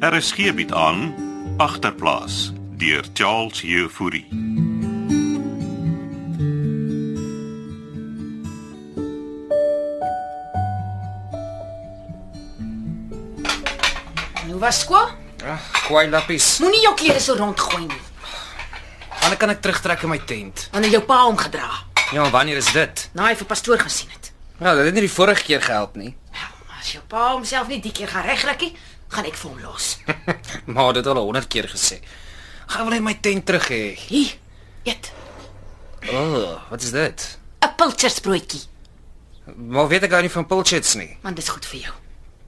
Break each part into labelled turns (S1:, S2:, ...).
S1: RSG bied Er aan agterplaas deur Charles Jefouri.
S2: Hoe was skool?
S3: Ag, kwaai lappies.
S2: Moenie jou klere so rondgooi nie.
S3: Wanneer kan ek terugtrek in my tent?
S2: Wanneer jou pa hom gedra,
S3: Ja, maar wanneer is dit?
S2: na hy vir pastoor gesien het.
S3: Ja, dit het nie die vorige keer gehelp nie.
S2: Wel, As jou pa homself nie die keer gaan regrykie, gaan ek vir hom los.
S3: maar dit het al 100 keer gesê. Gaan wil hy my tent terug hê.
S2: Hier, eet
S3: O, oh, wat is dit?
S2: 'n pilchersbroodjie,
S3: Maar weet ek gou nie van pulchits nie.
S2: want dit is goed vir jou.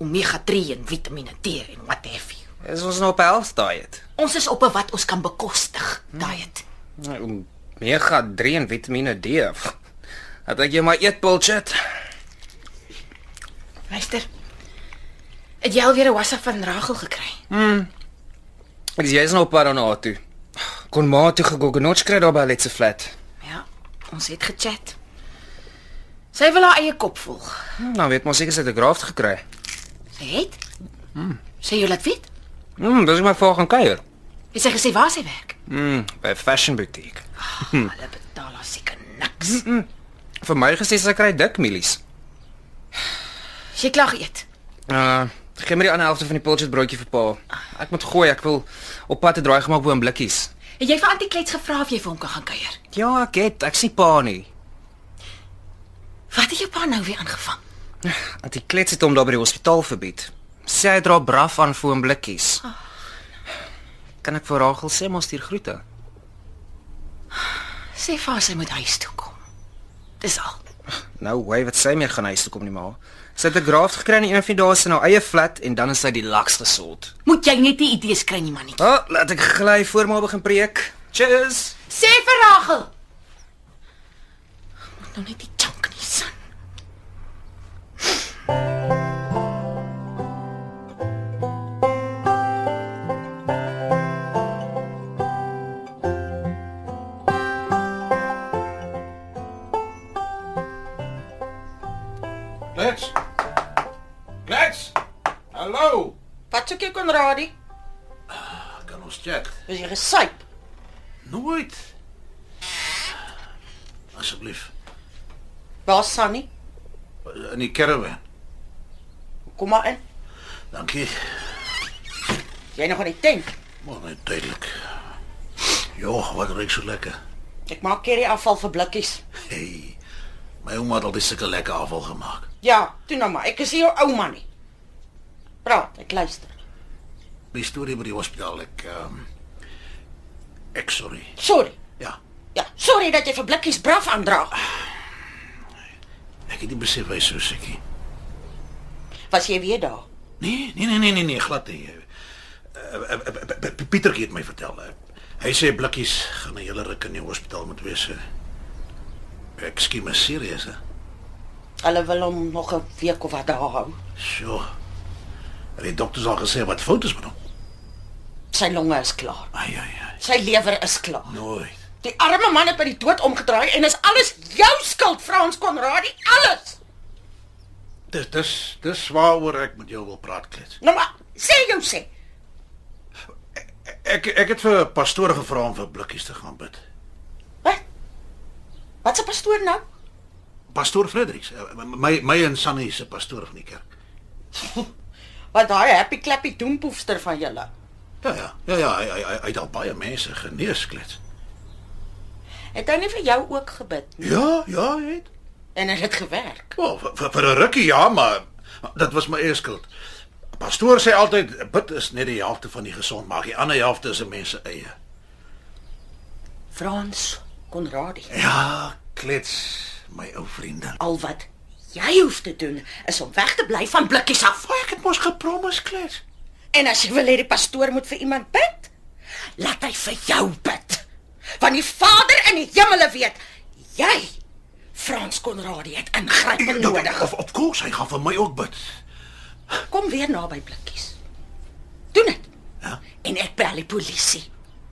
S2: Omega 3 en Vitamiene D en what have you.
S3: Is ons nou op 'n health diet?
S2: Ons is op 'n wat ons kan bekostig diet.
S3: Nou, mega 3 en Vitamiene D. Pff, Dat ek jy maar eet pulchit.
S2: Luister. Het jy al weer 'n WhatsApp van Rachel gekry?
S3: Ek is jy's nou op Parana toe. Kon maar toe gegogonots kry daar by Letse flat.
S2: Ja, ons het gechat. Sy wil haar eie kop volg.
S3: Hm, Nou weet mos seker sy het 'n graft gekry.
S2: Sy het? Mm. Sy jy laat weet?
S3: Hm, dis ek maar vir gaan kuier.
S2: Het sy gesê waar sy werk?
S3: Hm, by 'n fashion butiek.
S2: Hm. Hulle betaal haar seker niks.
S3: Vir my gesê sy kry dik mielies.
S2: Sy het klaar geëet.
S3: Uh, gee my die ander helfte van die pilchard broodjie vir pa. Ek moet gooi, ek wil op pad te draai gemaak bo in blikkies.
S2: Het jy vir Antie Klets gevra of jy vir hom kan gaan kuier?
S3: Ja, ek het, ek sien pa nie.
S2: Wat het jou pa nou weer aangevang?
S3: Want die klets het hom daar by die hospitaal verbied. Sê hy dra braaf aan vir in blikkies.
S4: Ah, nou.
S3: Kan ek vir Rachel sê maar stuur groete?
S2: Sê vir haar sy moet huis toe kom. Dis al.
S3: Nou, hoe wat sê meer gaan huis toe kom nie maar. Sy het 'n graft gekry in een van die dae in haar eie flat en dan is sy die laks gesort.
S2: Moet jy net nie idees kry nie, mannetjie.
S3: O, oh, laat ek gly voor maar begin preek. Cheers.
S2: Sê vir Rachel. Moet nou net die chunk nie son.
S5: Klets. Klets. Hallo.
S4: Wat soek jy Konradi?
S5: Ek kan ons chat.
S4: Is jy gesyp?
S5: Nooit. Asseblief.
S4: Waar is Sunny?
S5: In die kerwe.
S4: Kom maar in.
S5: Dankie.
S4: Jy nog in die tent.
S5: Maar net duidelik. Joh, wat reuk so lekker.
S4: Ek maak curry afval vir blikkies.
S5: Hey. My ouma het altyd sulke lekker afval gemaak.
S4: Ja, toe nou maar. Ek is nie jou ouma nie. Praat, ek luister.
S5: Die storie by die hospitaal ek ehm um, ek sorry.
S4: Sorry.
S5: Ja.
S4: Ja, sorry dat jy vir blikkies braaf aandra.
S5: Ek het nie besef hy so sekie.
S4: Was jy weer daar?
S5: Nee, nee nee nee nee, nee glad nie. Eh, eh, eh, eh, eh, Pietertjie het my vertel. eh, Hy sê blikkies gaan 'n hele ruk in die hospitaal moet wees. eh. Ek skiem is serieus. hè.
S4: Hulle wil hom nog 'n week of wat daar hou.
S5: Sjoe. En die dokters al gesê wat fout is met hom.
S4: Sy longe is klaar.
S5: Ai ai ai.
S4: Sy lewer is klaar.
S5: Nooit.
S4: Die arme man het by die dood omgedraai en is alles jou skuld, Frans Konradi, alles.
S5: Dis dis dis waaroor ek met jou wil praat, Klets.
S4: Nou maar, sê jou sê.
S5: Ek ek het vir pastoor gevra om vir blikkies te gaan bid.
S4: Wat? Wat se pastoor nou?
S5: Pastoor Fredericks, eh, my my en Sunny se pastoor van die kerk.
S4: Wat daai happy clappy doempoefster van julle.
S5: Ja ja. Ja ja, hy hy, hy hy het al baie mense genees, Klets.
S4: Het hy nie vir jou ook gebid nie?
S5: Ja, ja, hy het.
S4: En het dit gewerk?
S5: Wel, vir- vir vir 'n rukkie ja, maar dit was my eie skuld. Pastoor sê altyd bid is net die helfte van die gesond maak. Die ander helfte is 'n mens se eie.
S4: Frans Konradi.
S5: Ja, klets, my ou vriende.
S4: Al wat jy hoef te doen is om weg te bly van blikkies af.
S5: Ag, ek het mos gepromis, klets.
S4: En as jy wil hê die pastoor moet vir iemand bid, laat hy vir jou bid. Want die Vader in die hemele weet, jy Frans Konradi het ingryping nodig.
S5: Of of course, hy gaan vir my ook bid.
S4: Kom weer naby blikkies. Doen dit.
S5: Ja.
S4: En ek bel die polisie.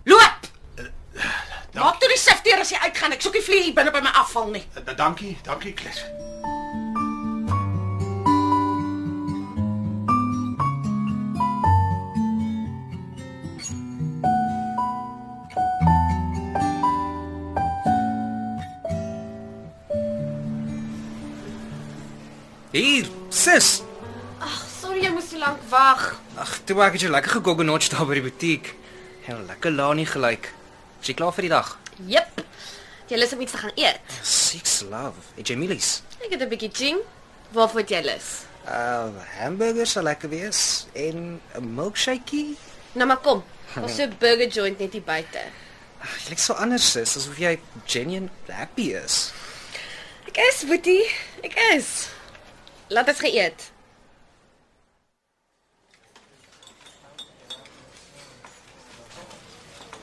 S4: Loop.
S5: dankie.
S4: Maak toe die sifteer as jy uitgaan. Ek soek die vlieg hier binne by my afval nie.
S5: Eh, Dankie, dankie, klets.
S3: Hier, sis.
S2: Sorry, jy moes so lank wag.
S3: Ag, toe ek het jou lekker gegogonotch daar by die butiek. En lekker laanie gelyk. Is jy klaar vir die dag?
S2: Jep. Jy lus om iets te gaan eet.
S3: Six love. Het jy mielies?
S2: Ek het 'n bietjie ching. Waarvoor het jy lus?
S3: Uh, hamburgers sal lekker wees en 'n milkshakeie.
S2: Nou maar kom. Ons so 'n burger joint net hier buite.
S3: Ag, jy lyk so anders sis, asof jy genuine happy is.
S2: Ek is Boetie. Ek is. Laat ons geëet.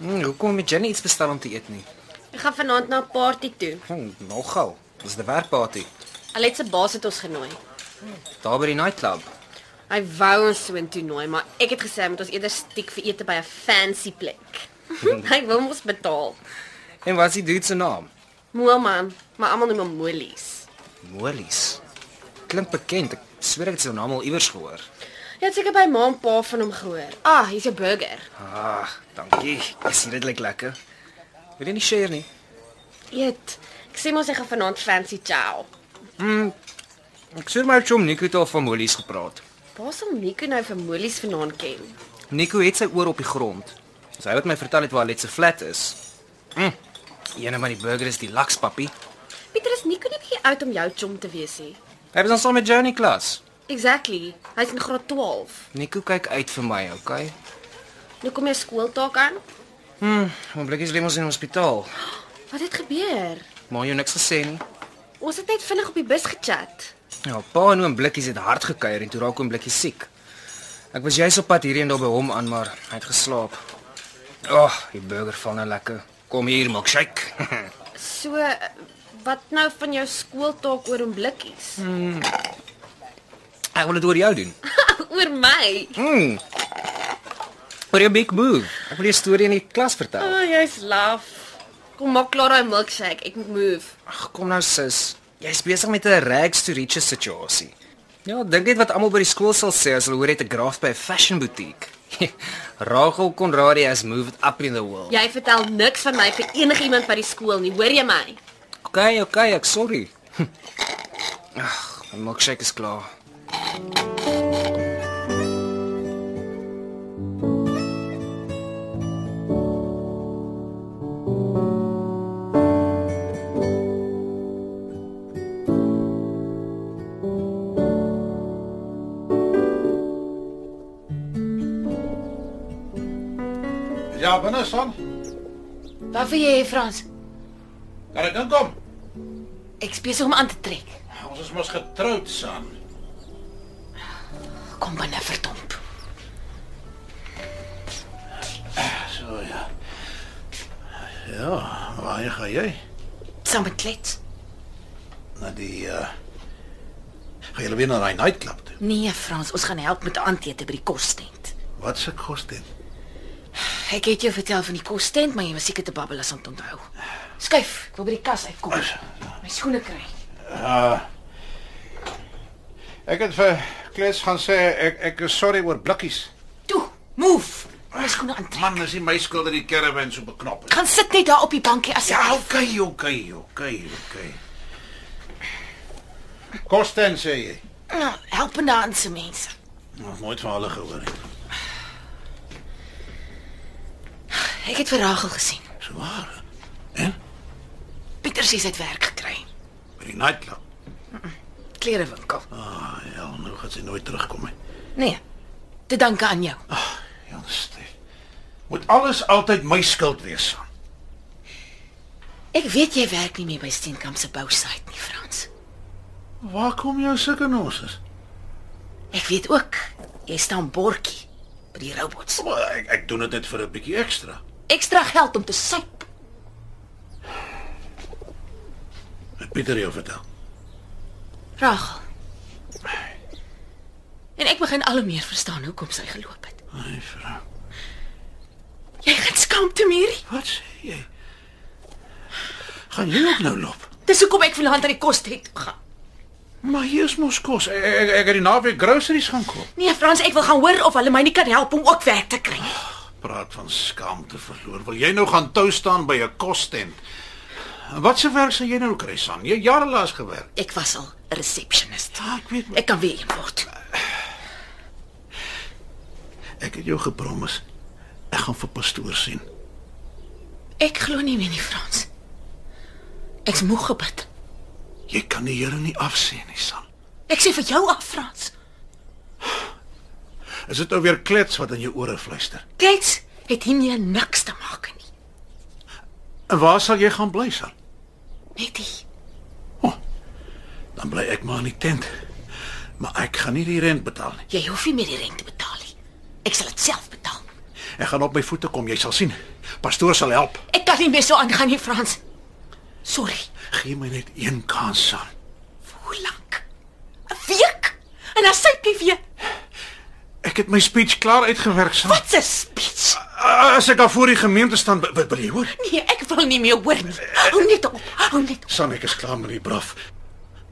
S3: Hm, hoekom het jy nie iets bestel om te eet nie?
S2: Ek gaan vanaand na 'n party toe.
S3: Hm, nogal. Dis 'n werkparty.
S2: Alet se baas het ons genooi.
S3: Daar by die nightclub.
S2: Hy wou ons so 'n toernooi, maar ek het gesê moet ons eerder stiek vir ete by 'n fancy plek. hy wil ons betaal.
S3: En wat is die dude se naam?
S2: Mooi man, maar almal noem hom Molies.
S3: Molies. Klink bekend. Ek swer ek het sy naam al iewers gehoor.
S2: Jy het seker by ma en pa van hom gehoor. Ah, hier's jou burger.
S3: Ag, dankie. Ek sien dit lyk lekker. Wil jy nie share nie?
S2: Eet. Ek sê mos ek gaan vanaand fancy chow.
S3: Ek sê maar chom Nico het al van Molies gepraat.
S2: Waar sal Nico nou vir Molies vanaand ken?
S3: Nico het sy oor op die grond. Sy het my vertel het waar Let's flat is. Mm. Eene van die burgers die laks papie.
S2: Pieter is Nico nie bietjie oud om jou chom te wees nie.
S3: Hy was ons saam met Johnny klas.
S2: Exactly. Hy's in graad 12.
S3: Nico kyk uit vir my, okay?
S2: Nou kom jou skooltaak aan.
S3: Hm, oomblikkies lê ons in die hospitaal.
S2: Wat het gebeur?
S3: Maar jy niks gesê nie.
S2: Ons het net vinnig op die bus gechat.
S3: Ja, pa en oom Blikkies het hard gekuier en toe raak oom Blikkies siek. Ek was juis op pad hierheen daar by hom aan, maar hy het geslaap. Ag, oh, die burger val nou lekker. Kom hier, milkshake.
S2: So eh, wat nou van jou skooltaak oor om blikkies?
S3: ek wil dit oor jou doen.
S2: oor my.
S3: Mm. Oor jou big move. Ek wil jou storie in die klas
S2: O,
S3: vertel.
S2: oh, jy's laf. Kom maak klaar daai milkshake. Ek moet move.
S3: Ag, kom nou sis. Jy's besig met 'n rags to riches situasie. Ja, dink net wat almal by die skool sal sê as hulle hoor jy het 'n graaf by 'n fashion butiek. Rachel Conradi has moved up in the world.
S2: Jy vertel niks van my vir enigiemand by die skool nie. Hoor jy my?
S3: Okay, okay, ek sorry. Hm. Ag, my milkshake is klaar.
S5: Ja, binne son.
S2: Wat wil jy hê, Frans?
S5: Kan ek inkom?
S2: Ek besig om aan te trek.
S5: Ons is mos getroud, son.
S2: Kom binne, verdomp.
S5: So ja. Ja, waar gaan jy?
S2: Saam met klets.
S5: Na die uh Gaan julle weer na daai nightclub toe?
S2: Nee, Frans, ons gaan help met die aandete by die kostent.
S5: Wat se kos dit?
S2: Ek het jou vertel van die kostent, maar jy was seker te babbel as om te onthou. Skuif, ek wil by die kas uitkom. My skoene kry.
S5: Ek het vir Klets gaan sê ek ek is sorry oor blikkies.
S2: Toe, move. My skoene aantrek.
S5: Man, dis nie my skuld dat die caravan so beknop is.
S2: Gaan sit net daar op die bankie as
S5: Ja, okay, okay, okay, okay. Kosten sê jy.
S2: Nou, helpende hand se mense.
S5: Nog nooit van hulle gehoor nie.
S2: Ek het vir Rachel gesien.
S5: So waar. Hè?
S2: Pieter sê sy het werk gekry.
S5: By die nightclub.
S2: Klerewinkel.
S5: Ah, ja, nou gaan sy nooit terugkom nie.
S2: Nee. Te danke aan jou.
S5: Ja, Stef. Moet alles altyd my skuld wees. son?
S2: Ek weet jy werk nie meer by Steenkamp se bousite nie, Frans.
S5: Waar kom jou sulke nonsens?
S2: Ek weet ook jy staan borgie by die robots.
S5: Maar Ek ek doen dit net vir 'n bietjie ekstra.
S2: Ekstra geld om te suip.
S5: Het Pieter jou vertel.
S2: Rachel. En ek begin al hoe meer verstaan hoekom sy geloop het.
S5: Ai, vrou.
S2: Jy gaan skaamte meer.
S5: Wat sê jy? Gaan jy ook nou loop?
S2: Dis hoekom ek vanaand aan die kos het gegaan.
S5: Maar hier's mos kos. Ek ek, ek het die naweek groceries gaan koop.
S2: Nee, Frans, ek wil gaan hoor of hulle my nie kan help om ook werk te kry.
S5: Praat van skaamte verloor. Wil jy nou gaan tou staan by 'n kostent? En wat se werk sal jy nou kry, San? Jy het jare lank gewerk.
S2: Ek was al 'n receptionist.
S5: Ah, ek weet, maar
S2: Ek kan weer een word.
S5: ek het jou gepromis. Ek gaan vir pastoor sien.
S2: Ek glo nie meer in die Frans. Ek's moeg gebid.
S5: Jy kan die Here nie afsien nie, San.
S2: Ek sê vir jou af Frans.
S5: Is dit nou weer klets wat in jou ore fluister?
S2: Klets het hiermee niks te maak nie.
S5: En waar sal jy gaan bly, San?
S2: Net hier.
S5: Dan bly ek maar in die tent. Maar ek gaan nie die rent betaal nie.
S2: Jy hoef nie meer die rente te betaal nie. Ek sal dit self betaal.
S5: Ek gaan op my voete kom, jy sal sien. Pastoor sal help.
S2: Ek kan nie meer so aangaan nie Frans. Sorry.
S5: Gee my net een kans, San.
S2: Vir hoe lank? 'n Week? En dan sê ek nie weer
S5: Ek het my speech klaar uitgewerk, San.
S2: wat 'n speech.
S5: As ek daar voor die gemeente staan, wil- wil wil jy hoor?
S2: Nee, ek wil nie meer hoor nie. Hou net op. Hou net op.
S5: San, ek is klaar met die braaf.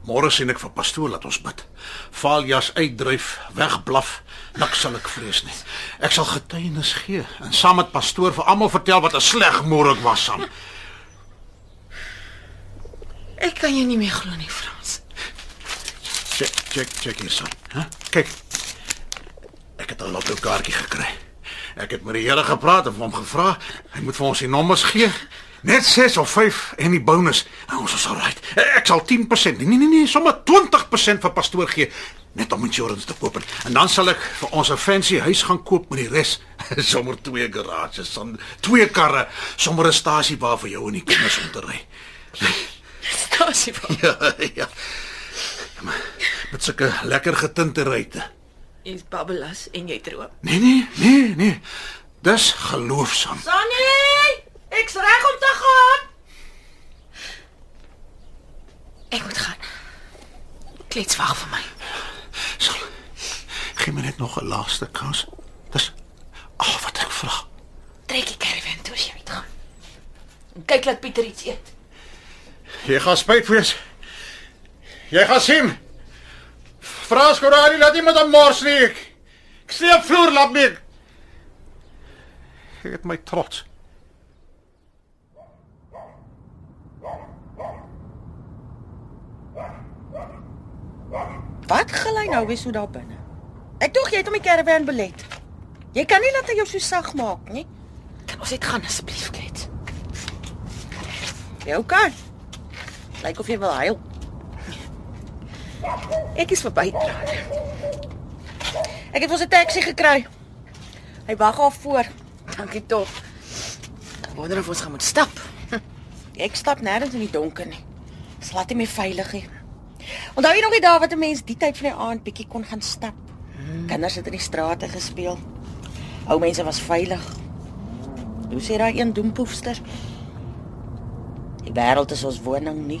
S5: Môre sien ek vir pastoor laat ons bid. Valjas uitdryf, wegblaf, niks sal ek vrees nie. Ek sal getuienis gee en saam met pastoor vir almal vertel wat 'n sleg môre ek was, San.
S2: Ek kan jou nie meer glo nie Frans.
S5: Check, check, check hier, San. Huh? Kyk. Ek het 'n lotto kaartjie gekry. Ek het met die Here gepraat en vir hom gevra, hy moet vir ons die nommers gee. Net 6 of 5 en die bonus. Nou, ons is alright. Ek sal 10%, nee nee nee, nee sommer 20% vir pastoor gee net om insurance te koop en, en dan sal ek vir ons 'n fancy huis gaan koop met die res. sommer twee garages, son, twee karre, sommer 'n stasie waar vir jou en die kinders om te ry.
S2: Stasie.
S5: Ja, ja. Met sulke lekker getinte ruitte.
S2: Jy's babbelas en jy droom.
S5: Nee nee, nee nee. Dis geloofsaam.
S2: Sonny, ek's reg om te gaan. Ek moet gaan. Klets wag vir my.
S5: Sal gee my net nog 'n laaste kans. Dis al wat ek vra.
S2: Trek die caravan toe as jy uitgaan. En kyk dat Pieter iets eet.
S5: Jy gaan spyt wees. Jy gaan sien. Frans Corani laat iemand aan mors nie. Ek Ek sleep vloer laat my. Ek het my trots.
S4: Wat gelei nou weer so daar binne? Ek dink jy het hom die karavan belet. Jy kan nie laat hy jou so sag maak nie.
S2: Kan ons net gaan asseblief, Klets?
S4: Jy kan. Lyk of jy wil huil. Ek is verby. Ek het ons 'n taxi gekry. Hy wag al voor.
S2: Dankie tog. Ek wonder of ons gaan moet stap.
S4: Ek stap nêrens in die donker nie. Dit laat nie meer veilig nie. Onthou jy nog die dae wat 'n mens die tyd van die aand bietjie kon gaan stap? Kinders het in die strate gespeel. Ou mense was veilig. Hoe sê daai een doempoefster? Die wêreld is ons woning nie.